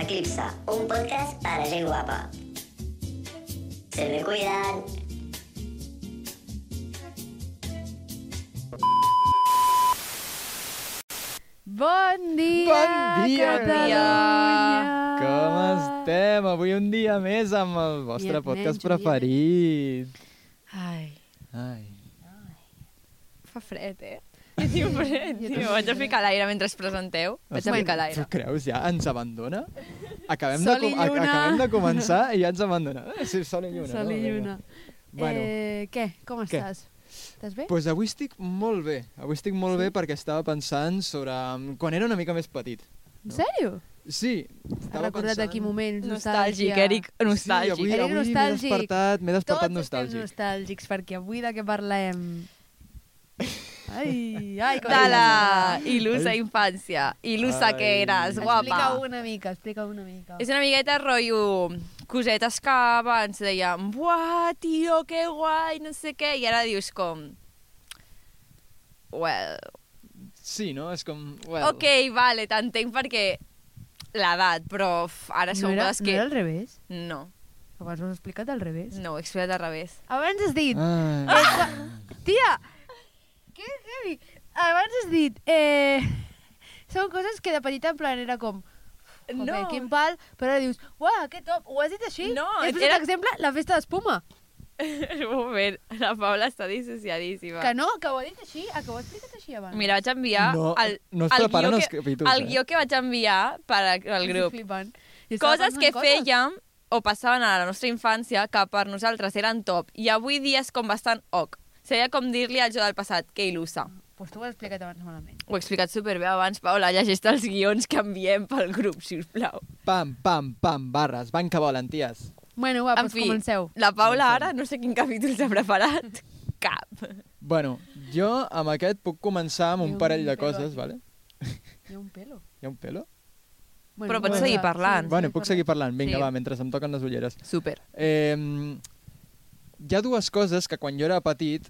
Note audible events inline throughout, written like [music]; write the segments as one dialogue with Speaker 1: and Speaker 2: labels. Speaker 1: Eclipse, un podcast para gente guapa. Se me cuidan.
Speaker 2: Bon dia,
Speaker 3: Bon dia!
Speaker 2: Catalunya!
Speaker 3: Com estem? Avui un dia més amb el vostre
Speaker 2: Ah. Dia menys,
Speaker 3: podcast
Speaker 2: un dia
Speaker 3: preferit.
Speaker 4: Ai,
Speaker 3: Ai.
Speaker 2: Fa fred, [laughs] eh?
Speaker 4: tio, fred, tio. Vaig a ficar l'aire mentre es presenteu. Vaig a
Speaker 3: Hosti,
Speaker 4: ficar l'aire.
Speaker 3: Tu creus ja? Ens abandona? Acabem,
Speaker 2: Sol
Speaker 3: de,
Speaker 2: i
Speaker 3: com- a-
Speaker 2: lluna.
Speaker 3: acabem de començar i ja ens
Speaker 2: [laughs]
Speaker 3: abandona. Eh, Sí, sol i lluna.
Speaker 2: Sol i
Speaker 3: no? Vinga.
Speaker 2: lluna.
Speaker 3: Bueno, doncs
Speaker 2: Eh, què? Com
Speaker 3: Què?
Speaker 2: estàs? Estàs bé?
Speaker 3: pues avui estic molt bé. Avui estic molt bé perquè estava pensant sobre mm, quan era una mica més petit.
Speaker 2: En sèrio?
Speaker 3: Sí,
Speaker 2: Has
Speaker 3: estava
Speaker 2: recordat
Speaker 3: pensant...
Speaker 2: aquí moments
Speaker 4: Nostàlgic,
Speaker 2: nostàlgia.
Speaker 4: Eric,
Speaker 3: Sí, avui,
Speaker 4: nostàlgic.
Speaker 2: Era
Speaker 3: avui m'he
Speaker 2: nostàlgic.
Speaker 3: despertat, m'he despertat
Speaker 2: Tots
Speaker 3: nostàlgic.
Speaker 2: estem nostàlgics, perquè avui de què parlem?
Speaker 3: [laughs]
Speaker 2: Ai, ai, com
Speaker 4: De la
Speaker 2: era.
Speaker 4: il·lusa infància. Il·lusa
Speaker 3: Ai.
Speaker 4: que eres,
Speaker 2: Explica
Speaker 4: guapa.
Speaker 2: una mica, explica una mica.
Speaker 4: És una miqueta rotllo cosetes que abans dèiem buah, tio, que guai, no sé què, i ara dius com... Well,
Speaker 3: Sí, no? És com... Well,
Speaker 4: ok, vale, t'entenc perquè l'edat, però uf, ara
Speaker 2: no
Speaker 4: són
Speaker 2: era,
Speaker 4: coses
Speaker 2: no era
Speaker 4: que... Mm.
Speaker 2: al revés?
Speaker 4: No,
Speaker 2: Abans ho has explicat al revés?
Speaker 4: no, ho he explicat al revés. [laughs]
Speaker 2: Abans has
Speaker 3: Ah,
Speaker 2: dit,
Speaker 3: Ai.
Speaker 2: Tia! Que heavy! Abans has dit... Eh, són coses que de petita en plan era com... No.
Speaker 4: No.
Speaker 2: quin pal, però ara dius, uah, que top, ho has dit així?
Speaker 4: No,
Speaker 2: I després,
Speaker 4: era-
Speaker 2: per exemple, la festa d'espuma.
Speaker 4: Un moment, la Paula està dissociadíssima.
Speaker 2: Que no, que ho ha dit així, ah, que ho ha explicat així abans.
Speaker 4: Mira, vaig enviar
Speaker 3: No,
Speaker 4: el,
Speaker 3: no es
Speaker 4: el,
Speaker 3: preparen
Speaker 4: guió
Speaker 3: els
Speaker 4: que,
Speaker 3: capítols,
Speaker 4: el
Speaker 3: eh?
Speaker 4: guió que vaig enviar per al al
Speaker 2: Estic
Speaker 4: grup.
Speaker 2: flipant. Jo estava
Speaker 4: Coses
Speaker 2: pensant
Speaker 4: que fèiem o passaven a la nostra infància que per nosaltres eren top i avui dia és com bastant ok. Seria com dir-li al jo del passat, que il·lusa.
Speaker 2: Pues tu ho has explicat abans malament.
Speaker 4: Ho he explicat superbé abans, Paula, llegeix els guions que enviem pel grup, si us plau.
Speaker 3: Pam, pam, pam, barres, van que volen, ties.
Speaker 2: Bueno, va,
Speaker 4: en
Speaker 2: doncs comenceu.
Speaker 4: la Paula ara no sé quin capítol s'ha preparat. [laughs] Cap.
Speaker 3: Bueno, jo amb aquest puc començar amb
Speaker 2: Hi
Speaker 3: un
Speaker 2: ha
Speaker 3: parell
Speaker 2: un
Speaker 3: de
Speaker 2: pelo
Speaker 3: coses,
Speaker 2: aquí.
Speaker 3: vale?
Speaker 2: Hi ha un pelo.
Speaker 3: Hi ha un pelo?
Speaker 2: Bueno,
Speaker 4: Però pots
Speaker 2: comença.
Speaker 4: seguir parlant.
Speaker 2: Sí,
Speaker 3: Bueno, puc seguir parlant? Vinga,
Speaker 4: Sí.
Speaker 3: va, mentre em toquen les ulleres.
Speaker 4: Super.
Speaker 3: Eh, hi ha dues coses que quan jo era petit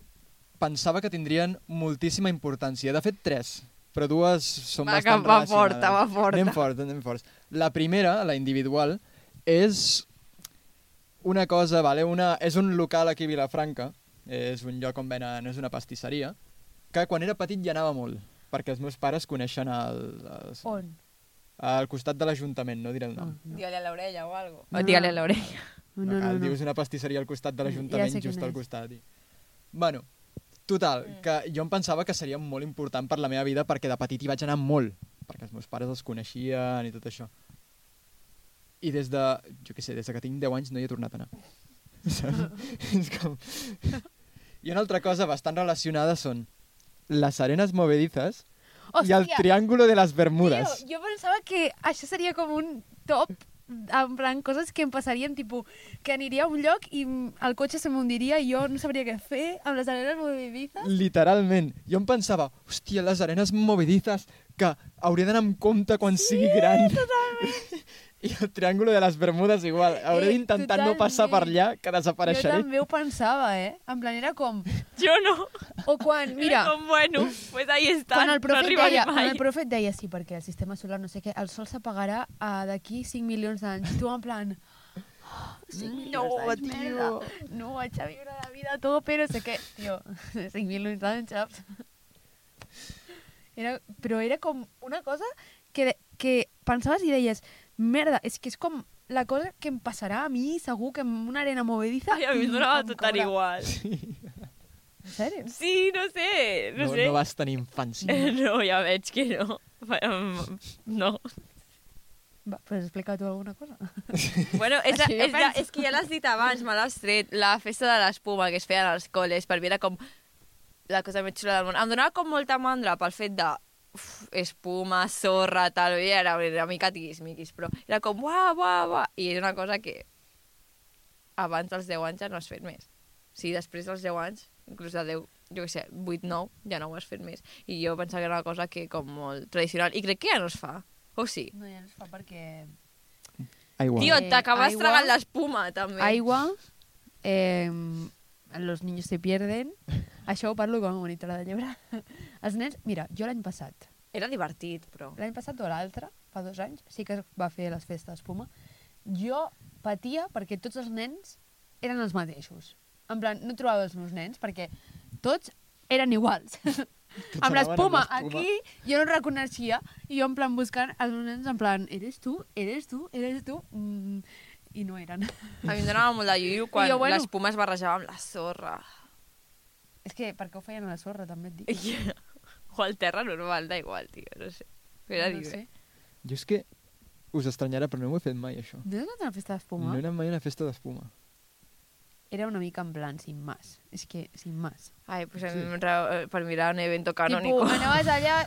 Speaker 3: pensava que tindrien moltíssima importància. De fet, tres, però dues són
Speaker 4: Va,
Speaker 3: bastant
Speaker 4: que va
Speaker 3: relacionades.
Speaker 4: forta, va forta.
Speaker 3: Anem forts, anem forts. La primera, la individual, és una cosa, vale? una, és un local aquí a Vilafranca, és un lloc on venen, és una pastisseria, que quan era petit hi anava molt, perquè els meus pares coneixen el, el,
Speaker 2: On?
Speaker 3: al costat de l'Ajuntament, no diré el nom.
Speaker 4: Digue-li a l'orella o algo.
Speaker 2: No.
Speaker 4: No. Digue-li a l'orella.
Speaker 2: No, no,
Speaker 3: cal,
Speaker 2: no.
Speaker 3: Dius una pastisseria al costat de
Speaker 2: Ja
Speaker 3: l'Ajuntament,
Speaker 2: sé quina
Speaker 3: just al
Speaker 2: és.
Speaker 3: costat. I... Bueno, total, que jo em pensava que seria molt important per la meva vida perquè de petit hi vaig anar molt, perquè els meus pares els coneixien i tot això. I des de, jo què sé, des de que tinc 10 anys no hi he tornat a anar. [laughs]
Speaker 2: [laughs]
Speaker 3: Saps? És com... I una altra cosa bastant relacionada són les arenes movedizas i el
Speaker 2: Hòstia!
Speaker 3: triàngulo de les Bermudes.
Speaker 2: Tio, jo pensava que això seria com un top, en plan, coses que em passarien, tipus, que aniria a un lloc i mm, el cotxe se m'hundiria i jo no sabria què fer, amb les aleres movidites.
Speaker 3: Literalment. Jo em pensava, hòstia, les arenes movedizas, que hauré d'anar amb compte quan sigui gran. [laughs] I el triàngulo de les Bermudes igual. Hauré
Speaker 2: Eh,
Speaker 3: d'intentar no passar per
Speaker 2: totalment.
Speaker 3: allà, que
Speaker 2: Jo
Speaker 3: desapareixeré.
Speaker 2: també ho pensava, eh? En plan, era com...
Speaker 4: Jo no.
Speaker 2: O
Speaker 4: [laughs]
Speaker 2: quan, mira,
Speaker 4: Era com, bueno, pues ahí está,
Speaker 2: quan el
Speaker 4: no
Speaker 2: profe et
Speaker 4: arribaré
Speaker 2: deia,
Speaker 4: mai.
Speaker 2: quan el profe et deia sí, perquè el sistema solar, no sé què, el sol s'apagarà uh, d'aquí 5 milions d'anys. Tu, en plan... Oh, 5 milions
Speaker 4: No,
Speaker 2: d'anys,
Speaker 4: tio.
Speaker 2: merda. No vaig a viure la vida a tope, no sé què. [laughs] Tio, 5 milions d'anys, saps? Era, però era com una cosa que, de- que pensaves i deies merda, és que és com la cosa que em passarà a mi, segur que amb una arena movediza...
Speaker 4: Ai, a mi em donava tot tan igual.
Speaker 2: En sèrio?
Speaker 4: Sí, no sé, no,
Speaker 3: No,
Speaker 4: sé.
Speaker 3: no vas tenir infància.
Speaker 4: [laughs] No, ja veig que no. Em- No.
Speaker 2: Va, pues explica tu alguna cosa.
Speaker 4: Bueno, és, la,
Speaker 2: Així jo
Speaker 4: és, la,
Speaker 2: penso.
Speaker 4: és que ja l'has dit abans, me l'has tret, la festa de l'espuma que es feien als col·les, per mi era com la cosa més xula del món. Em donava com molta mandra pel fet de uf, espuma, sorra, tal, i era una mica tiquis-miquis, però era com uah, uah, uah, i és una cosa que abans dels 10 anys ja no has fet més. O sigui, després dels 10 anys, inclús de 10, jo què sé, 8, 9, ja no ho has fet més. I jo pensava que era una cosa que com molt tradicional, i crec que ja no es fa, o sí?
Speaker 2: No, ja no es fa perquè...
Speaker 3: Aigua.
Speaker 4: Tio,
Speaker 2: Eh, Ah,
Speaker 4: t'acabes
Speaker 2: aigua.
Speaker 4: tragant l'espuma, també.
Speaker 2: [laughs] Aigua, eh, los [laughs] niños se pierden. Això ho parlo com a monitora de llebre. Els nens... Mira, jo l'any passat
Speaker 4: Era divertit, però...
Speaker 2: L'any passat o l'altre, fa dos anys, sí que es va fer les festes Puma. Jo patia perquè tots els nens eren els mateixos. En plan, no trobava els meus nens perquè tots eren iguals. [laughs] amb
Speaker 3: anaven amb
Speaker 2: l'espuma
Speaker 3: l'espuma.
Speaker 2: aquí jo no reconeixia i jo en plan buscant els meus nens en plan eres tu, eres tu, eres tu mm, i no eren [laughs]
Speaker 4: A mi em donava molt de lluio quan
Speaker 2: I jo, bueno.
Speaker 4: l'espuma es barrejava amb la sorra.
Speaker 2: és que per què ho feien a la sorra també
Speaker 3: [laughs]
Speaker 2: et dic
Speaker 4: [laughs] o al terra normal, da igual, tio, no sé. Era
Speaker 2: no
Speaker 4: no
Speaker 3: eh.
Speaker 2: sé.
Speaker 3: Jo és que us estranyarà, però no ho he fet mai, això.
Speaker 2: no has anat a la festa d'espuma?
Speaker 3: No he anat mai a una festa d'espuma.
Speaker 2: era una mica en plan sin más. És que sin más.
Speaker 4: Ai, pues
Speaker 3: Sí.
Speaker 4: em ra- per mirar un evento canónico.
Speaker 2: Tipo, anaves allà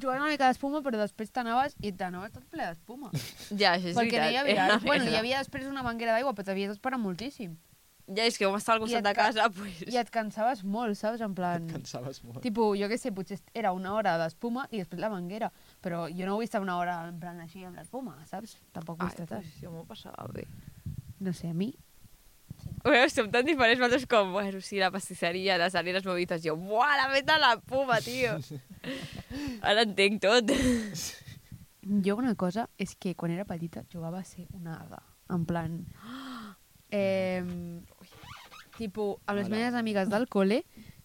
Speaker 2: jugant una mica d'espuma, però després t'anaves i t'anaves tot ple d'espuma.
Speaker 4: [laughs] Ja, això és
Speaker 2: Perquè no
Speaker 4: veritat.
Speaker 2: hi
Speaker 4: eh, [laughs] era
Speaker 2: havia...
Speaker 4: una
Speaker 2: bueno, hi
Speaker 4: merda.
Speaker 2: havia després una manguera d'aigua, però t'havies d'esperar moltíssim.
Speaker 4: Ja, és que vam estar al
Speaker 2: I
Speaker 4: costat
Speaker 2: et
Speaker 4: de
Speaker 2: ca-
Speaker 4: casa, pues...
Speaker 2: I et cansaves molt, saps? En plan...
Speaker 3: Cansaves molt.
Speaker 2: Tipo, jo què sé, potser era una hora d'espuma i després la manguera, però jo no vull estar una hora en plan així amb l'espuma, saps? Tampoc
Speaker 4: Ai,
Speaker 2: vull estar tant.
Speaker 4: pues, jo m'ho passava bé.
Speaker 2: No sé, a mi...
Speaker 4: Veus, som tan diferents, nosaltres com, bueno, sí, la pastisseria, les sardines movides, jo, buah, la meta la puma, [laughs] tio. Ara entenc tot.
Speaker 2: Jo una cosa és que quan era petita jugava a ser una hada. En plan... Eh, tipo, amb les
Speaker 3: Hola.
Speaker 2: meves amigues del col·le,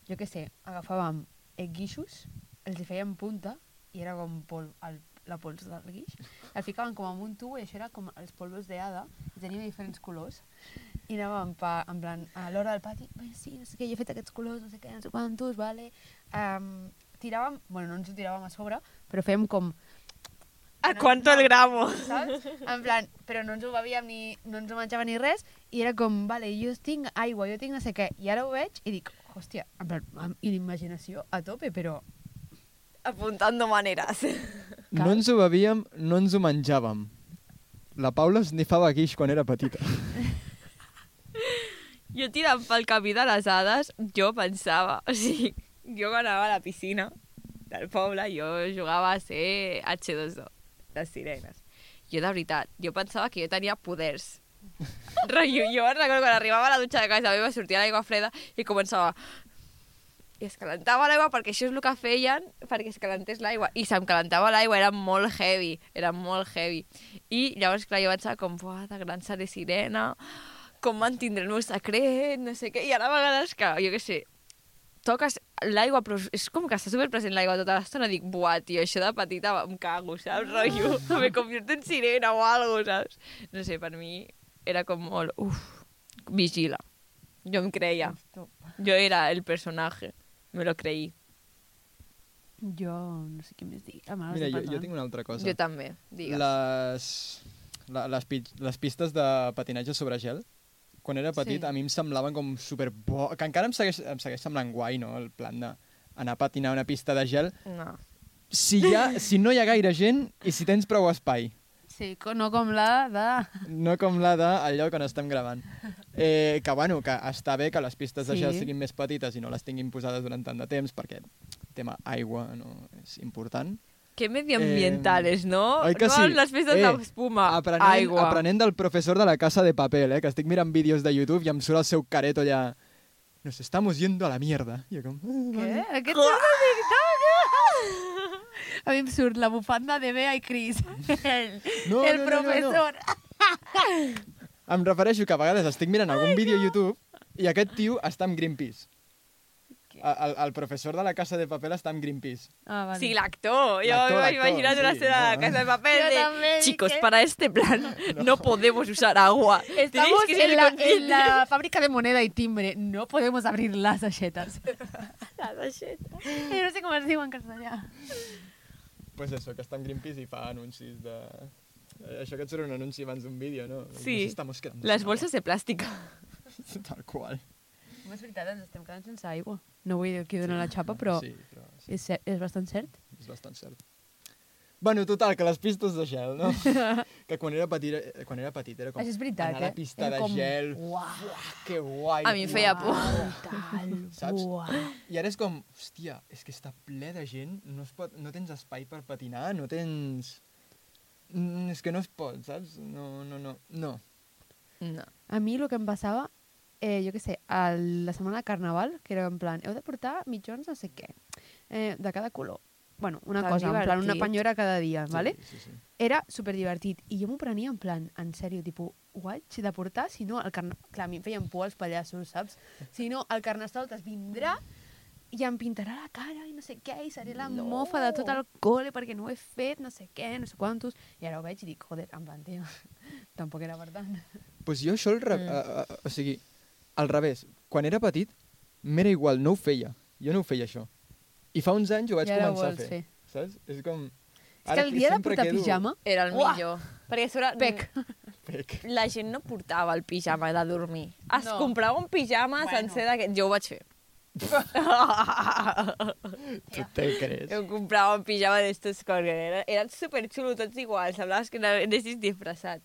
Speaker 2: jo què sé, agafàvem eh, guixos, els hi fèiem punta, i era com pol, el, la pols del guix, el ficaven com en un tubo i això era com els polvos de hada, i tenia diferents colors, i anàvem pa, en plan, a l'hora del pati, bé, sí, no sé què, jo he fet aquests colors, no sé què, no sé quantos, vale... Um, tiràvem, bueno, no ens ho tiràvem a sobre, però fèiem com
Speaker 4: A quanto el gramo?
Speaker 2: saps? En plan, però no ens ho bevíem ni, no ens ho menjava ni res, i era com, vale, jo tinc aigua, jo tinc no sé què, i ara ho veig i dic, hòstia, en plan, amb imaginació a tope, però...
Speaker 4: Apuntando maneres.
Speaker 3: No ens ho bevíem, no ens ho menjàvem. La Paula esnifava guix quan era petita.
Speaker 4: Jo tirant pel camí de les hades, jo pensava, o sigui, jo quan anava a la piscina del poble, jo jugava a ser H2O, les sirenes. Jo, de veritat, jo pensava que jo tenia poders. Rollo, jo me'n recordo quan arribava a la dutxa de casa meva, sortia l'aigua freda i començava... I es calentava l'aigua perquè això és el que feien perquè es calentés l'aigua. I se'm calentava l'aigua, era molt heavy, era molt heavy. I llavors, clar, jo vaig ser com, buah, de gran seré sirena, com mantindré el meu secret, no sé què. I ara a vegades que, jo què sé, toques l'aigua, però és com que està superpresent l'aigua tota l'estona. Dic, buah, tio, això de petita em cago, saps? Rotllo, [laughs] me convierto en sirena o algo, saps? No sé, per mi era com molt, uf, vigila. Jo em creia. Jo era el personatge. Me lo creí.
Speaker 2: Jo no sé què més dir. Em A
Speaker 3: Mira, jo, jo tinc una altra cosa.
Speaker 4: Ah, Jo també, digues. La...
Speaker 3: les, la, les, pi, les pistes de patinatge sobre gel, quan era petit,
Speaker 2: Sí.
Speaker 3: sí. a mi em semblaven com superbo... Que encara em segueix, em segueix semblant guai, no?, el plan de anar a patinar a una pista de gel.
Speaker 4: No.
Speaker 3: Si, hi
Speaker 2: [laughs]
Speaker 3: ha, si no hi ha gaire gent i si tens prou espai.
Speaker 2: Sí, co- no com la de...
Speaker 3: No com la de el lloc on estem gravant. Eh, que, bueno, que està bé que les pistes de
Speaker 2: Sí.
Speaker 3: gel siguin més petites i no les tinguin posades durant tant de temps, perquè tema aigua no és important.
Speaker 4: Que medioambientales, eh... no?
Speaker 3: Oi que
Speaker 4: no,
Speaker 3: sí?
Speaker 4: les festes
Speaker 3: Eh,
Speaker 4: eh, d'espuma,
Speaker 3: Aprenent,
Speaker 4: aigua.
Speaker 3: aprenent del professor de la casa de paper, eh? que estic mirant vídeos de YouTube i em surt el seu caret allà... Nos estamos yendo a la mierda. I Jo com... "Ah,
Speaker 2: Què? Aquest
Speaker 3: vale".
Speaker 2: és una veritat! A mi em surt la bufanda de Bea i Cris. El,
Speaker 3: No,
Speaker 2: el
Speaker 3: no, no, no, no.
Speaker 2: professor.
Speaker 3: Em refereixo que a vegades estic mirant algun vídeo a YouTube i aquest tio està amb Greenpeace. El, el, el professor de la casa de paper està amb Greenpeace.
Speaker 2: Ah, vale.
Speaker 4: Sí, l'actor. Yo
Speaker 3: L'actor,
Speaker 4: me
Speaker 3: l'actor,
Speaker 4: voy imaginando una
Speaker 3: sí,
Speaker 4: escena de
Speaker 3: no.
Speaker 4: la casa de papel
Speaker 2: Yo
Speaker 4: de,
Speaker 2: también
Speaker 4: chicos,
Speaker 2: dije-
Speaker 4: para este plan [laughs] no, podemos usar agua. Tenéis
Speaker 2: Estamos
Speaker 4: que ser
Speaker 2: en la, en
Speaker 4: conscientes".
Speaker 2: la fábrica de moneda y timbre. No podemos abrir las sachetas.
Speaker 3: [laughs]
Speaker 2: Yo no sé cómo les digo en castellà.
Speaker 3: pues eso, que està en Greenpeace i fa anuncis de... Eh, Això que et surt un anunci abans d'un vídeo, no?
Speaker 4: Sí.
Speaker 3: Nos estamos quedando
Speaker 4: Las
Speaker 3: sin
Speaker 4: bolsas de plástico.
Speaker 3: agua. [laughs] Tal qual.
Speaker 2: No és veritat, ens estem quedant sense aigua. No vull dir que dona la xapa, però
Speaker 3: Sí, però sí,
Speaker 2: és, cer- és bastant cert.
Speaker 3: és bastant cert. Bueno, total, que les pistes de gel,
Speaker 2: [laughs]
Speaker 3: no? que quan era petit, eh, quan era, petit era com...
Speaker 2: Això és veritat,
Speaker 3: anar a
Speaker 2: eh?
Speaker 3: la pista
Speaker 2: Era
Speaker 3: de
Speaker 2: com,
Speaker 3: gel.
Speaker 2: "Uau,
Speaker 3: Que guai.
Speaker 4: A mi em feia
Speaker 3: uau.
Speaker 4: por.
Speaker 2: tal,
Speaker 3: Saps?
Speaker 2: uau".
Speaker 3: I ara és com, hòstia, és que està ple de gent, no, es pot, no tens espai per patinar, no tens... Mm, és que no es pot, saps? No, no, no, no.
Speaker 4: No.
Speaker 2: A mi el que em passava, eh, jo què sé, a la setmana de Carnaval, que era en plan, heu de portar mitjons no sé què, eh, de cada color. bueno, una
Speaker 4: Tan
Speaker 2: cosa, en plan, una
Speaker 4: divertit.
Speaker 2: penyora cada dia,
Speaker 3: Sí,
Speaker 2: ¿vale?
Speaker 3: Sí, sí.
Speaker 2: Era superdivertit. I jo m'ho prenia en plan, en sèrio, tipus, ho haig de portar, si no, el carna... Clar, a mi em feien por els pallassos, saps? Si no, el carnestoltes vindrà i em pintarà la cara i no sé què, i seré la
Speaker 4: No.
Speaker 2: no. mofa de tot el col·le perquè no ho he fet, no sé què, no sé quantos. I ara ho veig i dic, joder, en plan, tio, [laughs] tampoc era per tant.
Speaker 3: pues jo això, al re...
Speaker 4: Mm.
Speaker 3: a, a, o sigui, al revés, quan era petit, m'era igual, no ho feia. Jo no ho feia, això. I fa uns anys ho vaig
Speaker 2: I ara ho
Speaker 3: començar a
Speaker 2: vols
Speaker 3: fer.
Speaker 2: fer.
Speaker 3: Saps? És com...
Speaker 2: És que el dia de
Speaker 3: sempre
Speaker 2: portar
Speaker 3: quedo-
Speaker 2: pijama
Speaker 4: Era el
Speaker 2: Uah!
Speaker 4: millor. Perquè a sobre...
Speaker 2: Pec.
Speaker 3: Pec.
Speaker 4: La gent no portava el pijama de dormir. Es
Speaker 2: No.
Speaker 4: comprava un pijama
Speaker 2: Bueno.
Speaker 4: bueno. sencer d'aquest. Jo ho
Speaker 2: [laughs]
Speaker 4: vaig fer.
Speaker 3: Tu te crees?
Speaker 4: Jo comprava un pijama d'estos que era, eren superxulos, tots iguals. Semblaves que anessis disfressat.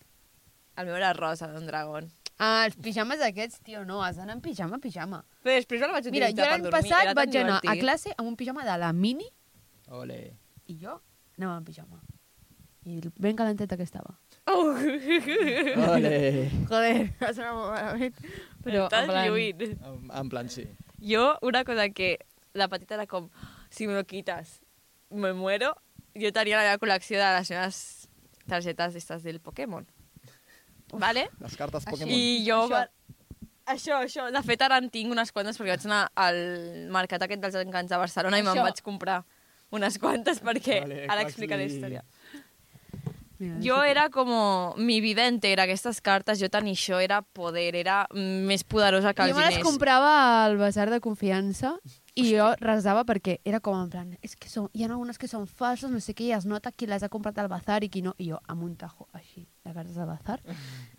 Speaker 4: El meu era rosa, d'un dragon.
Speaker 2: Ah, els pijames aquests, tio, no, has d'anar en pijama, pijama.
Speaker 4: Però després me la vaig
Speaker 2: Mira,
Speaker 4: utilitzar
Speaker 2: jo
Speaker 4: per
Speaker 2: l'any
Speaker 4: dormir.
Speaker 2: passat
Speaker 4: era tan
Speaker 2: vaig anar a
Speaker 4: divertit. [laughs]
Speaker 2: classe amb un pijama de la mini
Speaker 3: Ole.
Speaker 2: [laughs] i jo anava en pijama. I ben calenteta que estava.
Speaker 4: Oh.
Speaker 3: Ole.
Speaker 2: Joder, va sonar molt malament. Però,
Speaker 4: Estàs
Speaker 2: en plan,
Speaker 4: lluint.
Speaker 3: En, en plan, sí.
Speaker 4: Jo, una cosa que de petita era com, si me lo quitas, me muero. Jo tenia la meva col·lecció de les meves targetes d'estes del Pokémon. Vale?
Speaker 3: Les cartes
Speaker 2: Així.
Speaker 3: Pokémon.
Speaker 4: I jo...
Speaker 2: Això.
Speaker 4: Això. això, això. De fet, ara en tinc unes quantes perquè vaig anar al mercat aquest dels encants de Barcelona i me'n
Speaker 2: Això.
Speaker 4: vaig comprar unes quantes perquè
Speaker 3: Vale,
Speaker 4: ara
Speaker 3: Huxley.
Speaker 4: explicaré la història.
Speaker 2: Mira,
Speaker 4: Jo era com... Mi vida entera, aquestes cartes, jo tenir això era poder, era més poderosa que els
Speaker 2: jo me les
Speaker 4: diners.
Speaker 2: comprava al bazar de confiança i jo resava perquè era com en plan, és que són, hi ha algunes que són falses, no sé què, i es nota qui les ha comprat al bazar i qui no. I jo, amb un tajo així, de cartes del
Speaker 4: [laughs]
Speaker 2: bazar.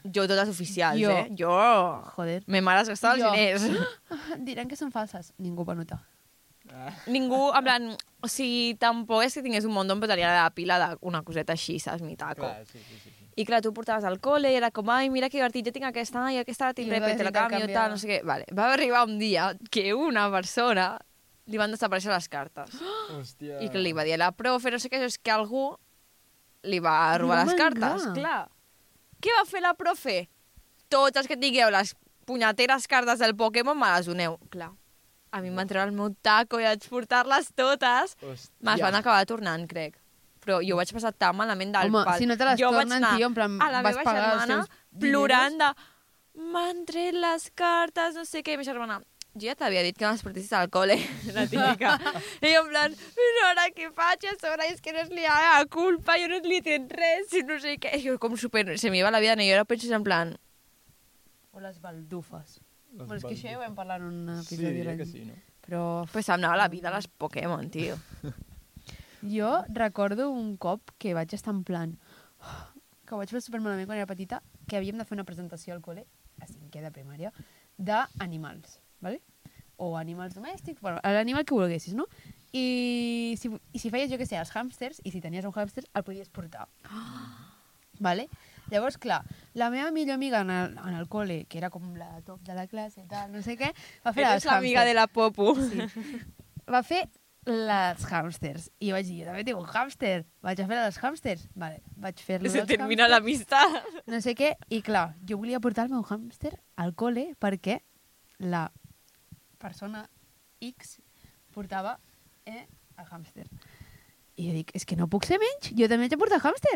Speaker 4: Jo totes oficials,
Speaker 2: Jo.
Speaker 4: eh? Jo...
Speaker 2: Joder.
Speaker 4: Me mare es gastava
Speaker 2: Jo. "Ah, [laughs]
Speaker 4: els diners. [laughs]
Speaker 2: Diran que són falses. Ningú va notar.
Speaker 3: Ah,
Speaker 4: Ningú, en plan, o sigui, tampoc és que tingués un munt posaria la pila d'una coseta així, saps, mi taco.
Speaker 3: Clar, sí, sí, sí. sí.
Speaker 4: I clar, tu portaves al col·le, i era com, ai, mira que divertit, jo tinc aquesta, ai, aquesta la tindré,
Speaker 2: I
Speaker 4: perquè te la
Speaker 2: vosaltres
Speaker 4: canvio, tal, no sé què. Vale. Va arribar un dia que una persona li van desaparèixer les cartes.
Speaker 2: [gasps]
Speaker 3: Hòstia.
Speaker 4: I que li va dir a la profe, no sé què, és que algú li va robar
Speaker 2: va
Speaker 4: les cartes.
Speaker 2: mangar.
Speaker 4: Clar. Què va fer la profe? Tots els que tingueu les punyeteres cartes del Pokémon me les doneu. Clar. A mi em van treure el meu taco i vaig portar-les totes.
Speaker 3: Hòstia.
Speaker 4: Me les van acabar tornant, crec. Però jo ho vaig passar tan malament del
Speaker 2: Home,
Speaker 4: pal.
Speaker 2: si no te les
Speaker 4: jo vaig
Speaker 2: tornen,
Speaker 4: anar
Speaker 2: tio, en plan,
Speaker 4: a la
Speaker 2: vas
Speaker 4: meva
Speaker 2: pagar els
Speaker 4: germana
Speaker 2: teus diners?
Speaker 4: plorant de m'han tret les cartes, no sé què, i ma germana, jo ja t'havia dit que no les portessis al col·le, [laughs] la típica. I jo en plan, no, ara què faig? A sobre és que no és la meva culpa, jo no li he tret res, i no sé què. I jo com super, se m'hi va la vida, no, jo ara penso en plan,
Speaker 2: O les baldufes.
Speaker 3: Les
Speaker 2: Bueno, és que això ja ho vam parlar en un
Speaker 3: Sí,
Speaker 2: episodi
Speaker 3: diria
Speaker 2: l'any.
Speaker 3: que sí, no?
Speaker 2: Però
Speaker 4: pues se'm anava la vida a les Pokémon,
Speaker 2: [laughs]
Speaker 4: tio.
Speaker 2: jo recordo un cop que vaig estar en plan... Que ho vaig fer supermalament quan era petita, que havíem de fer una presentació al col·le, a cinquè de primària, d'animals, ¿vale? o animals domèstics, bueno, l'animal que vulguessis, no? I si, i si feies, jo què sé, els hàmsters, i si tenies un hàmster, el podies
Speaker 4: [gasps]
Speaker 2: portar. Vale? Llavors, clar, la meva millor amiga en el, en el col·le, que era com la top de la classe, tal, no sé què, va fer la
Speaker 4: Eres
Speaker 2: dels
Speaker 4: l'amiga
Speaker 2: hàmsters.
Speaker 4: de la Popu. [laughs]
Speaker 2: [laughs] va fer les hàmsters. I vaig dir, jo també tinc un hàmster. Vaig a fer les hàmsters. Vale, vaig fer-lo
Speaker 4: Se
Speaker 2: dels
Speaker 4: termina
Speaker 2: hàmsters,
Speaker 4: l'amistat.
Speaker 2: No sé què. I clar, jo volia portar el meu hàmster al col·le perquè la persona X portava eh, el hàmster. I jo dic, és que no puc ser menys, jo també haig de portar hàmster.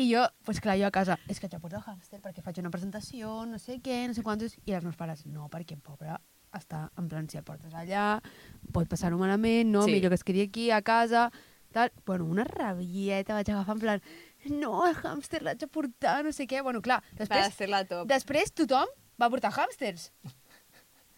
Speaker 2: I jo, doncs clar, jo a casa, és que haig de portar el hàmster perquè faig una presentació, no sé què, no sé quantos, i els meus pares, no, perquè pobre, està en plan, si el portes allà, pot passar-ho malament, no,
Speaker 4: Sí.
Speaker 2: sí. millor que es quedi aquí, a casa, tal. Bueno, una rabieta vaig agafar en plan, no, el hàmster l'haig de portar, no sé què. Bueno, clar, després,
Speaker 4: ser la top.
Speaker 2: després tothom va portar hàmsters.
Speaker 4: [laughs]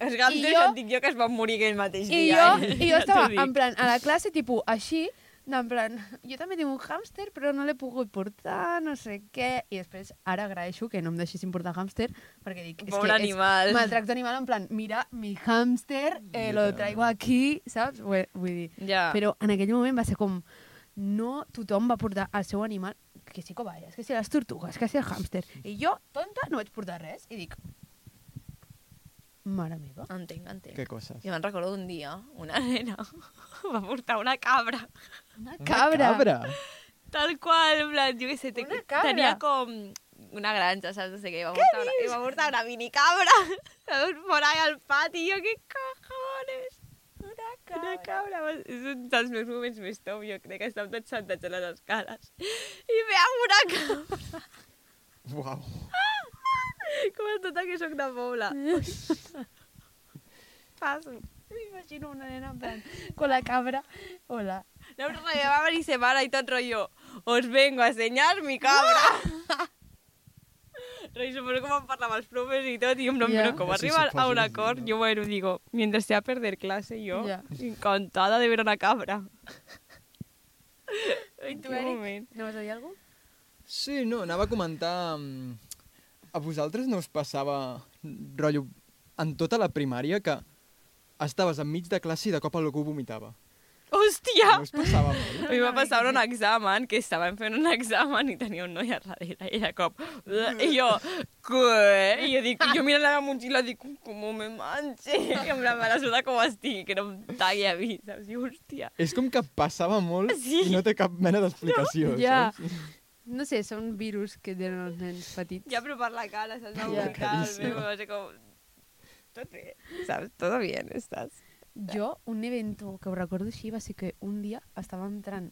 Speaker 4: Els gats
Speaker 2: I
Speaker 4: jo...
Speaker 2: jo-
Speaker 4: et dic jo que es van morir aquell mateix
Speaker 2: I
Speaker 4: dia.
Speaker 2: jo,
Speaker 4: eh?
Speaker 2: i jo
Speaker 4: [laughs] Ja t'ho
Speaker 2: estava
Speaker 4: dic.
Speaker 2: en plan, a la classe, tipus, així, en plan, jo també tinc un hàmster, però no l'he pogut portar, no sé què... I després, ara agraeixo que no em deixessin portar hàmster, perquè dic, és
Speaker 4: Pobre
Speaker 2: que
Speaker 4: animal.
Speaker 2: és maltracte animal, en plan, mira, mi hàmster, eh, lo traigo aquí, saps? Vull, vull dir,
Speaker 4: Ja.
Speaker 2: però en aquell moment va ser com... No tothom va portar el seu animal, que sí cobayes, que sí les tortugues, que sí el hàmster. I jo, tonta, no vaig portar res. I dic... Mare meva.
Speaker 4: Entenc, entenc.
Speaker 3: Que coses.
Speaker 4: Jo me'n recordo un dia, una [laughs] nena va portar una cabra.
Speaker 2: Una
Speaker 3: Una
Speaker 2: cabra.
Speaker 3: cabra.
Speaker 4: Tal qual, en plan, jo què sé, te-
Speaker 2: Una cabra?
Speaker 4: tenia com una granja, saps? No sé què, i va portar, una, i va portar una [laughs] minicabra. La veus por ahí al pati, i jo, què cajones? Una cabra. va caure. Va... És un dels meus moments més top, jo crec que estàvem tots sentats a les escales. I veiem una cabra. [laughs]
Speaker 3: Uau.
Speaker 4: Com a tota que sóc de poble. Passo.
Speaker 2: M'imagino una nena en plan, con la cabra. Hola.
Speaker 4: No, però me va venir se para i tot rotllo. Os vengo a ensenyar mi cabra. Però suposo que vam parlar amb els profes i tot, i em yeah.
Speaker 2: Ja.
Speaker 4: com
Speaker 3: Sí,
Speaker 4: arriba a
Speaker 3: suposo,
Speaker 4: un
Speaker 3: sí,
Speaker 4: acord,
Speaker 3: no.
Speaker 4: jo, bueno, digo, mientras sea perder clase, yo,
Speaker 2: Ja.
Speaker 4: encantada de ver una cabra. Ai,
Speaker 2: Tu,
Speaker 4: qué
Speaker 2: Eric,
Speaker 4: moment.
Speaker 2: no vas a dir alguna cosa?
Speaker 3: Sí, no, anava a comentar... mm, A vosaltres no us passava, rotllo, en tota la primària que estaves enmig de classe i de cop algú vomitava.
Speaker 4: Hòstia!
Speaker 3: No us passava molt?
Speaker 4: A mi va passar en un examen, que estàvem fent un examen i tenia un noi a darrere, i de cop... I jo... Què? I jo, dic, jo mirant la meva motxilla dic, com me manche? I amb la mala suda com estic, que no em talli a mi, saps? I hòstia...
Speaker 3: És com que passava molt
Speaker 4: Sí.
Speaker 3: i no té cap mena d'explicació,
Speaker 4: No, ja.
Speaker 3: saps?
Speaker 2: No sé, són virus que tenen els nens petits.
Speaker 4: Ja, però per la cara, saps?
Speaker 2: Ja.
Speaker 4: M'ha vomitat el
Speaker 3: Claríssim.
Speaker 4: meu, va ser com... Tot bé, saps? Todo bien, estàs.
Speaker 2: Jo, un evento que ho recordo així va ser que un dia estava entrant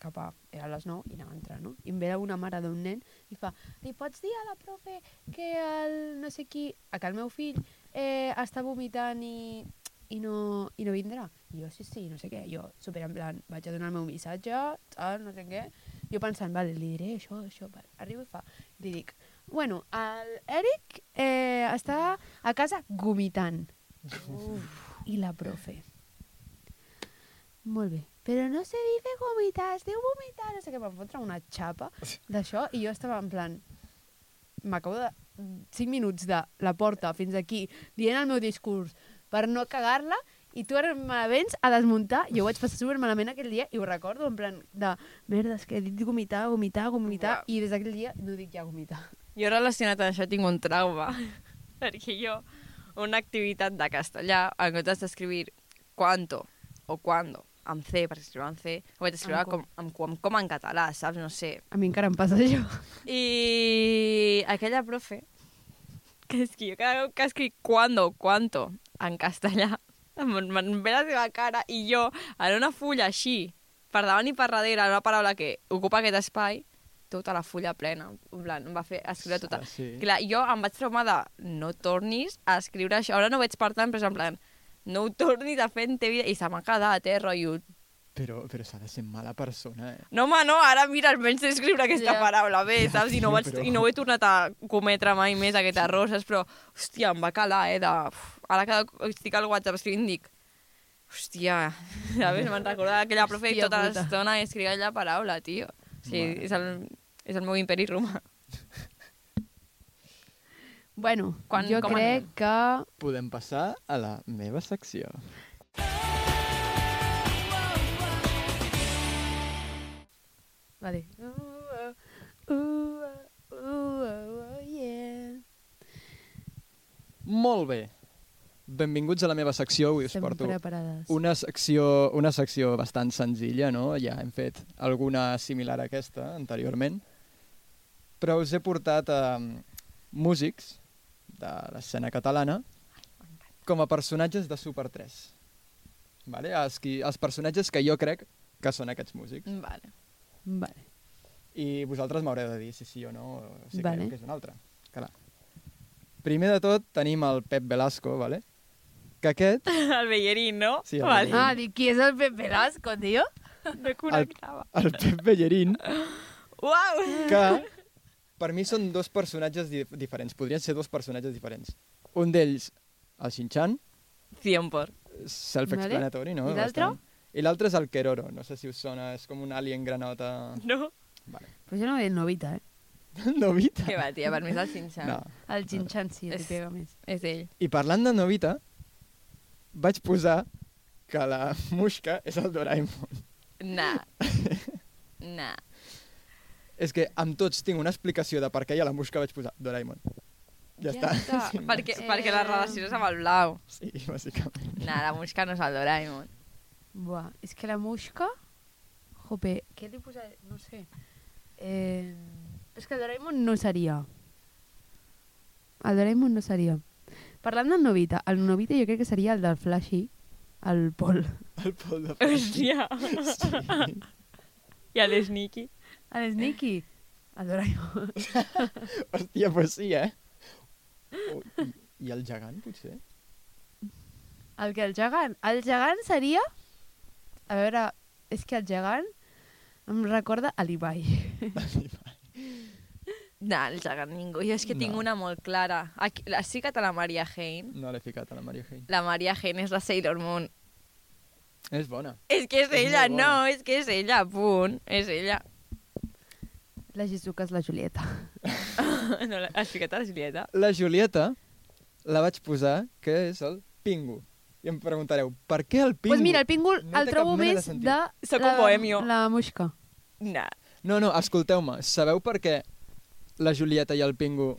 Speaker 2: cap a... Era a les 9 i anava a entrar, no? I em ve una mare d'un nen i fa li pots dir a la profe que el no sé qui, a que el meu fill eh, està vomitant i, i, no, i no vindrà? I jo, sí, sí, no sé què. Jo, super en plan, vaig a donar el meu missatge, tal, no sé què. Jo pensant, vale, li diré això, això, vale. Arribo i fa, li dic, bueno, el Eric eh, està a casa vomitant. Uf. I la profe. Molt bé. Però no se dice vomitar, es diu vomitar. No sé què, em va fotre una xapa d'això i jo estava en plan... M'acabo de... 5 minuts de la porta fins aquí, dient el meu discurs per no cagar-la i tu ara me vens a desmuntar. Jo ho vaig passar super malament aquell dia i ho recordo en plan de merda, és que he dit vomitar, vomitar, vomitar
Speaker 4: Uau.
Speaker 2: i des d'aquell dia no dic ja vomitar.
Speaker 4: Jo relacionat amb això tinc un trauma, [laughs] perquè jo una activitat de castellà, en comptes d'escriure quanto o quando, amb C, perquè escriu amb C, ho vaig escriure
Speaker 2: Amb
Speaker 4: amb com, amb, com, com en català, saps? No sé.
Speaker 2: A mi encara em passa això.
Speaker 4: [laughs] I aquella profe, que és que jo cada cop que escric quando o quanto en castellà, em- me'n ve la seva cara i jo, en una fulla així, per davant i per darrere, en una paraula que ocupa aquest espai, tota la fulla plena, en plan, em va fer escriure tota.
Speaker 3: Ah, sí.
Speaker 4: Clar, jo em vaig traumar de no tornis a escriure això. Ara no ho veig per tant, però és en plan, no ho tornis a fer en teva vida. I se m'ha quedat, eh, rotllo.
Speaker 3: Però, però s'ha de ser mala persona, eh?
Speaker 4: No, home, no, ara mira, almenys sé escriure aquesta
Speaker 2: Ja.
Speaker 4: yeah. paraula bé,
Speaker 3: Ja,
Speaker 4: saps? I no,
Speaker 3: tio,
Speaker 4: vaig,
Speaker 3: però-
Speaker 4: I no ho he tornat a cometre mai més, aquest error, saps? Però, hòstia, em va calar, eh? De... Uf, ara que estic al WhatsApp escrivint, dic... Hòstia, [laughs] sabes? Me'n recordava aquella profe i
Speaker 2: Hòstia
Speaker 4: tota
Speaker 2: puta.
Speaker 4: l'estona escrivia la paraula, tio. O sigui,
Speaker 3: Mare
Speaker 4: és el, és el meu imperi romà.
Speaker 2: [laughs]
Speaker 4: [laughs]
Speaker 2: Bueno,
Speaker 4: Quan-
Speaker 2: jo
Speaker 4: com
Speaker 2: crec
Speaker 4: anem?
Speaker 2: que...
Speaker 3: Podem passar a la meva secció.
Speaker 2: Vale. Uh, uh, uh, uh, uh, uh, yeah.
Speaker 3: Molt bé. Benvinguts a la meva secció. Avui us
Speaker 2: Estem
Speaker 3: porto
Speaker 2: preparades.
Speaker 3: una secció, una secció bastant senzilla, no? Ja hem fet alguna similar a aquesta anteriorment. Però us he portat eh, músics de l'escena catalana com a personatges de Super 3. Vale? Els, qui, els personatges que jo crec que són aquests músics.
Speaker 4: Vale.
Speaker 2: Vale.
Speaker 3: I vosaltres m'haureu de dir si sí o no, o si
Speaker 2: Vale.
Speaker 3: vale. creieu que és un altre. Clar. Primer de tot tenim el Pep Velasco, vale? que aquest,
Speaker 4: El Bellerín, no?
Speaker 3: Sí, el
Speaker 4: vale.
Speaker 3: Bellerín.
Speaker 2: Ah, dic, qui és el Pep Velasco, tio?
Speaker 4: No connectava.
Speaker 3: el Pep Bellerín,
Speaker 4: Uau!
Speaker 3: que per mi són dos personatges di diferents, podrien ser dos personatges diferents. Un d'ells, el Shin-chan,
Speaker 4: 100 por.
Speaker 3: self-explanatory, no?
Speaker 2: I l'altre?
Speaker 3: Bastant. I l'altre és el Keroro, no sé si us sona, és com un alien granota... [laughs]
Speaker 4: No?
Speaker 3: Vale.
Speaker 2: Però jo no veig novita, eh?
Speaker 3: Novita?
Speaker 4: Què va, tia, per mi és el Xinxan.
Speaker 3: No.
Speaker 2: El Xinxan sí, li
Speaker 4: És-
Speaker 2: pega més.
Speaker 4: És ell.
Speaker 3: I parlant de Novita, vaig posar que la [laughs] Mushka és el Doraemon. [laughs]
Speaker 4: Nah. nah.
Speaker 3: És que amb tots tinc una explicació de per què hi ha la mosca vaig posar Doraemon. Ja, està. [laughs] Sí,
Speaker 4: perquè,
Speaker 2: Eh.
Speaker 4: perquè la relació és amb el blau.
Speaker 3: Sí, bàsicament.
Speaker 4: Nah, la mosca no és el Doraemon.
Speaker 2: Buah, és que la Mushka... Jope, què li posaré? No sé. Eh... És que el Doraemon no seria. El Doraemon no seria. Parlant del Novita, el Novita jo crec que seria el del Flashy, el Pol.
Speaker 3: El Pol de
Speaker 5: [laughs]
Speaker 4: [laughs]
Speaker 5: Hòstia.
Speaker 3: Sí.
Speaker 5: I a les Niki.
Speaker 2: A les Niki. El Doraemon.
Speaker 3: Hòstia, pues sí,
Speaker 2: [laughs]
Speaker 3: eh? O, i, I el gegant, potser? [laughs]
Speaker 2: El que el gegant. El gegant seria... A veure, és que el gegant em recorda a l'Ibai.
Speaker 4: No, el gegant ningú. Jo és que tinc
Speaker 3: No.
Speaker 4: una molt clara. Aquí, la, sí que te la Maria Hein.
Speaker 3: No l'he ficat a la Maria Hein.
Speaker 4: La Maria Hein és la Sailor Moon.
Speaker 3: És bona.
Speaker 4: És que és,
Speaker 3: És
Speaker 4: ella,
Speaker 3: molt bona.
Speaker 4: no, és que és ella, punt. És ella.
Speaker 2: La Jizuka és la Julieta.
Speaker 5: [laughs] No, la- has ficat a la Julieta?
Speaker 3: La Julieta la vaig posar, que és el pingo. I em preguntareu, per què el pingo?
Speaker 2: Doncs pues mira, el pingul
Speaker 3: No
Speaker 2: no el
Speaker 3: té cap
Speaker 2: trobo
Speaker 3: mena de
Speaker 2: més de...
Speaker 3: sentit.
Speaker 5: Sóc
Speaker 2: la-
Speaker 5: un bohemio.
Speaker 2: La Muixca.
Speaker 5: No.
Speaker 3: No, no, escolteu-me. Sabeu per què la Julieta i el pingo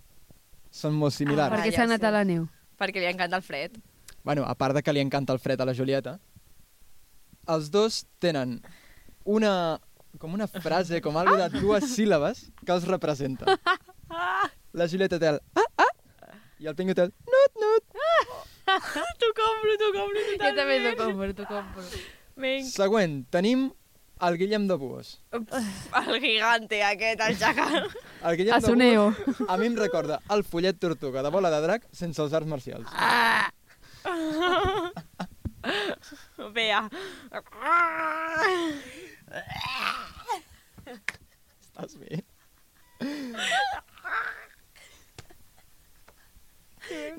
Speaker 3: són molt
Speaker 4: Ah,
Speaker 3: similars?
Speaker 2: perquè
Speaker 4: ja
Speaker 2: s'ha anat
Speaker 4: sé.
Speaker 2: a la neu.
Speaker 4: Perquè li encanta el fred.
Speaker 3: Bueno, a part de que li encanta el fred a la Julieta, els dos tenen una com una frase, com algo de dues síl·labes que els representa. La Julieta té el ah, ah, i el Pingo té el nut, nut.
Speaker 5: Ah, T'ho compro, t'ho compro
Speaker 2: Jo també t'ho
Speaker 5: totalment.
Speaker 2: compro, t'ho compro.
Speaker 5: Vinc.
Speaker 3: Següent, tenim el Guillem de Búhos.
Speaker 4: El gigante aquest, el gegant.
Speaker 3: El Guillem
Speaker 2: A Suneo.
Speaker 3: de Búhos a mi em recorda el follet tortuga de bola de drac sense els arts marcials.
Speaker 5: Bea.
Speaker 3: Estàs bé?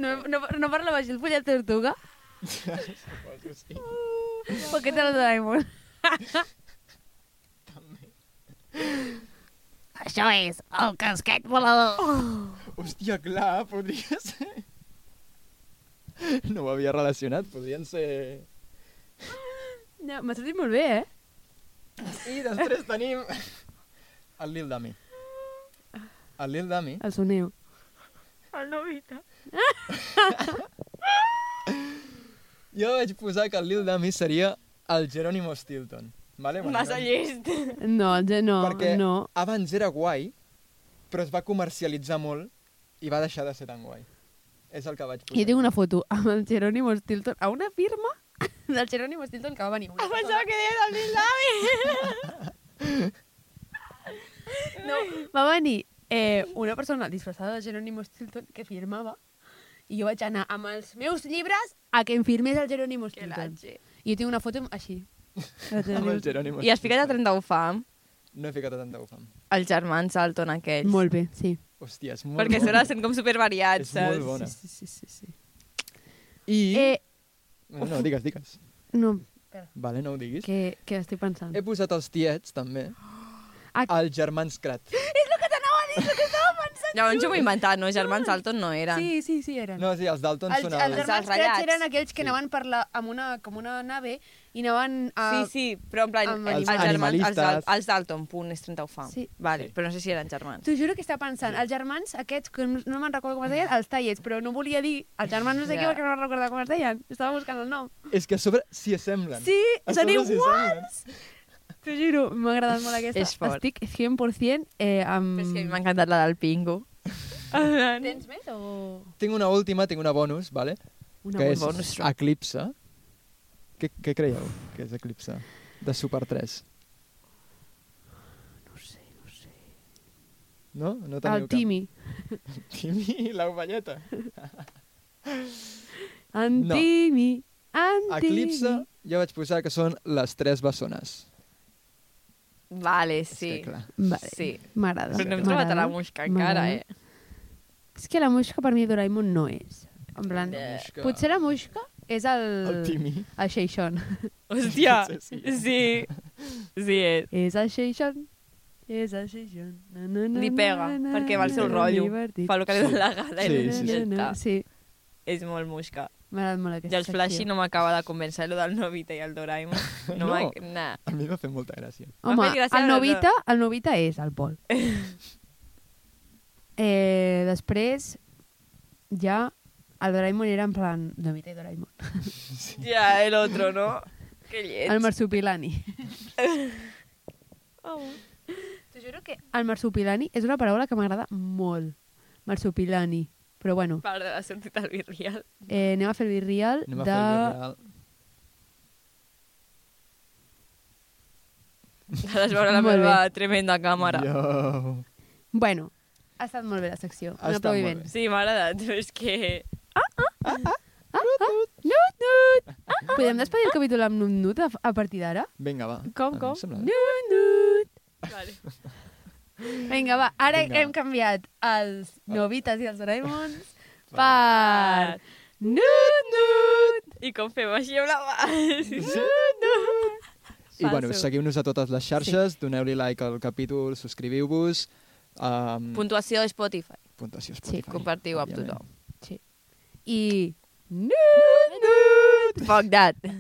Speaker 2: No, no, no parlava així el pollet tortuga?
Speaker 3: Suposo, sí.
Speaker 2: Perquè té el Doraemon.
Speaker 1: Això és el casquet volador.
Speaker 3: Hòstia, clar, podria ser... No ho havia relacionat, podrien ser...
Speaker 2: No, M'ha sortit molt bé, eh?
Speaker 3: I després tenim... El Lil Dami. El Lil Dami
Speaker 2: El Suneo.
Speaker 5: El Novita.
Speaker 3: Jo vaig posar que el Lil Dami seria el Geronimo Stilton. Vale? Bueno,
Speaker 5: Massa
Speaker 3: no-
Speaker 5: llest.
Speaker 2: No, el ge- no,
Speaker 3: Perquè
Speaker 2: no.
Speaker 3: abans era guai, però es va comercialitzar molt i va deixar de ser tan guai. És el que vaig posar.
Speaker 2: Jo tinc una foto amb el Jerónimo Stilton a una firma [laughs] del Jerónimo Stilton que va venir. Una
Speaker 5: Pensava que deies el Lil Dami.
Speaker 2: No, va venir eh, una persona disfressada de Jerónimo Stilton que firmava i jo vaig anar amb els meus llibres a que em firmés el Jerónimo Stilton. I jo tinc una foto amb-
Speaker 3: [laughs]
Speaker 2: així. del
Speaker 3: Amb el
Speaker 2: Jerónimo Stilton.
Speaker 3: Geronimo
Speaker 4: I has ficat a
Speaker 3: Stilton.
Speaker 4: 31 fam,
Speaker 3: No he ficat a tanta ufam.
Speaker 4: els germans Alton aquells.
Speaker 2: Molt bé, sí.
Speaker 3: Hòstia, és molt
Speaker 4: Perquè a
Speaker 3: bona.
Speaker 4: sobre sent com supervariats,
Speaker 3: És molt
Speaker 4: saps?
Speaker 3: bona.
Speaker 2: Sí, sí, sí, sí.
Speaker 3: I...
Speaker 2: Eh,
Speaker 3: No, no, digues, digues.
Speaker 2: no,
Speaker 3: Vale, no ho diguis.
Speaker 2: que, que estic pensant.
Speaker 3: He posat els tiets, també.
Speaker 2: Ah.
Speaker 3: Els germans Krat.
Speaker 4: Llavors jo m'ho he inventat, no? Els germans Alton no eren.
Speaker 2: Sí, sí, sí, eren.
Speaker 3: No, sí, els Dalton
Speaker 2: els,
Speaker 3: són
Speaker 2: els
Speaker 3: els...
Speaker 2: germans
Speaker 4: Els
Speaker 2: Cratch
Speaker 4: ratllats.
Speaker 2: eren aquells que
Speaker 3: Sí.
Speaker 2: anaven per la, amb una, com una nave i anaven a...
Speaker 4: Sí, sí, però en plan,
Speaker 2: Amb
Speaker 4: els,
Speaker 2: animals.
Speaker 4: germans, els, Dal-
Speaker 3: Animalistes.
Speaker 4: els Dalton, punt, és 31 fam.
Speaker 2: Sí.
Speaker 4: Vale,
Speaker 3: Sí.
Speaker 4: però no sé si eren germans.
Speaker 2: T'ho juro que estava pensant, els germans aquests, que no no me'n recordo com es deien, els tallets, però no volia dir els germans no sé
Speaker 4: Ja.
Speaker 2: què perquè no me'n recordo com es deien. Estava buscant el nom.
Speaker 3: És que a sobre s'hi assemblen.
Speaker 2: Sí,
Speaker 3: A
Speaker 2: són
Speaker 3: sobre s'hi
Speaker 2: iguals! T'ho juro, m'ha agradat molt aquesta.
Speaker 4: És fort.
Speaker 2: Estic 100% eh, amb...
Speaker 4: Però és que a mi m'ha encantat la del Pingo.
Speaker 2: Tens més o...?
Speaker 3: Tinc una última, tinc una bonus, vale?
Speaker 2: Una
Speaker 3: que
Speaker 2: molt
Speaker 3: és
Speaker 2: bona.
Speaker 4: bonus track.
Speaker 3: Eclipse. Què, què creieu que és Eclipse? De Super 3. No sé, no sé. No? No teniu
Speaker 2: El Timi.
Speaker 3: Cap. [laughs] Timi, l'ovelleta.
Speaker 2: En
Speaker 3: No.
Speaker 2: Timi. En
Speaker 3: Eclipse,
Speaker 2: Timi.
Speaker 3: jo vaig posar que són les tres bessones.
Speaker 4: Vale,
Speaker 3: És
Speaker 4: sí.
Speaker 3: que, clar.
Speaker 2: Vale.
Speaker 4: Sí.
Speaker 2: M'agrada.
Speaker 4: Però no hem trobat a la
Speaker 2: M'agrada,
Speaker 4: mosca encara,
Speaker 2: m'agrada.
Speaker 4: eh?
Speaker 2: És que la mosca per mi Doraemon no és. En plan,
Speaker 3: La
Speaker 5: Eh,
Speaker 3: mosca-
Speaker 2: potser la mosca és el...
Speaker 3: El Timi.
Speaker 2: El Sheixon.
Speaker 5: Hòstia.
Speaker 3: Sí, sí.
Speaker 5: Sí. Sí,
Speaker 4: eh.
Speaker 5: és.
Speaker 2: És el Sheixon. És el Sheixon. Na, na, na,
Speaker 4: Li pega,
Speaker 2: na, na,
Speaker 5: perquè va al seu
Speaker 2: na,
Speaker 5: rotllo.
Speaker 2: divertit.
Speaker 5: Fa el que li dona la gana.
Speaker 3: Sí,
Speaker 5: Sí,
Speaker 3: sí,
Speaker 5: sí,
Speaker 3: sí.
Speaker 5: ja està.
Speaker 2: Sí,
Speaker 5: És molt musca.
Speaker 2: m'ha agradat molt
Speaker 5: I
Speaker 2: aquesta
Speaker 5: el Flashy
Speaker 2: secció.
Speaker 5: no m'acaba de convèncer, lo del Novita i el Doraemon. No,
Speaker 3: No.
Speaker 5: m'ha- Nah.
Speaker 3: A mi m'ha fet molta gràcia.
Speaker 5: m'ha
Speaker 2: Home,
Speaker 5: fet gràcia,
Speaker 2: el
Speaker 5: però-
Speaker 2: Novita, el Novita és el
Speaker 5: [laughs]
Speaker 2: Pol. eh, després, ja, el Doraemon era en plan... Novita i Doraemon.
Speaker 5: Ja, el otro, no? Que lleig.
Speaker 2: El marsupilani.
Speaker 5: Oh.
Speaker 2: T'ho juro que el marsupilani és una paraula que m'agrada molt. Marsupilani. Però bueno,
Speaker 5: Part de la sortit al Virrial.
Speaker 2: eh, anem a fer el virrial
Speaker 3: Anem a
Speaker 2: de...
Speaker 3: fer el real.
Speaker 4: Ara es veurà la
Speaker 2: Molt
Speaker 4: meva tremenda càmera.
Speaker 3: Yo.
Speaker 2: Bueno, ha estat molt bé la secció.
Speaker 3: Ha
Speaker 2: Un
Speaker 3: estat molt
Speaker 2: aplaudiment.
Speaker 3: bé.
Speaker 4: Sí, m'ha agradat, però és que...
Speaker 2: Ah, ah, nut,
Speaker 3: [laughs]
Speaker 2: nut. Ah, Podem despedir el capítol amb nut, nut a, a partir d'ara?
Speaker 3: Vinga, va.
Speaker 2: Com,
Speaker 3: Em
Speaker 2: com?
Speaker 3: sembla bé.
Speaker 2: Nut, nut.
Speaker 4: Vale.
Speaker 2: Vinga, va, ara
Speaker 3: Vinga.
Speaker 2: hem canviat els Novitas i els
Speaker 3: [laughs]
Speaker 2: Doraemons
Speaker 4: Va.
Speaker 2: per... Nut, nut.
Speaker 4: I com fem així amb la mà?
Speaker 3: I bueno,
Speaker 2: Falso.
Speaker 3: seguiu-nos a totes les xarxes, doneu-li like al capítol, subscriviu-vos. Um,
Speaker 4: Puntuació de Spotify.
Speaker 3: Puntuació Spotify.
Speaker 4: compartiu amb
Speaker 3: òbviament.
Speaker 4: tothom.
Speaker 2: I... Nut, nut.
Speaker 4: Fuck that.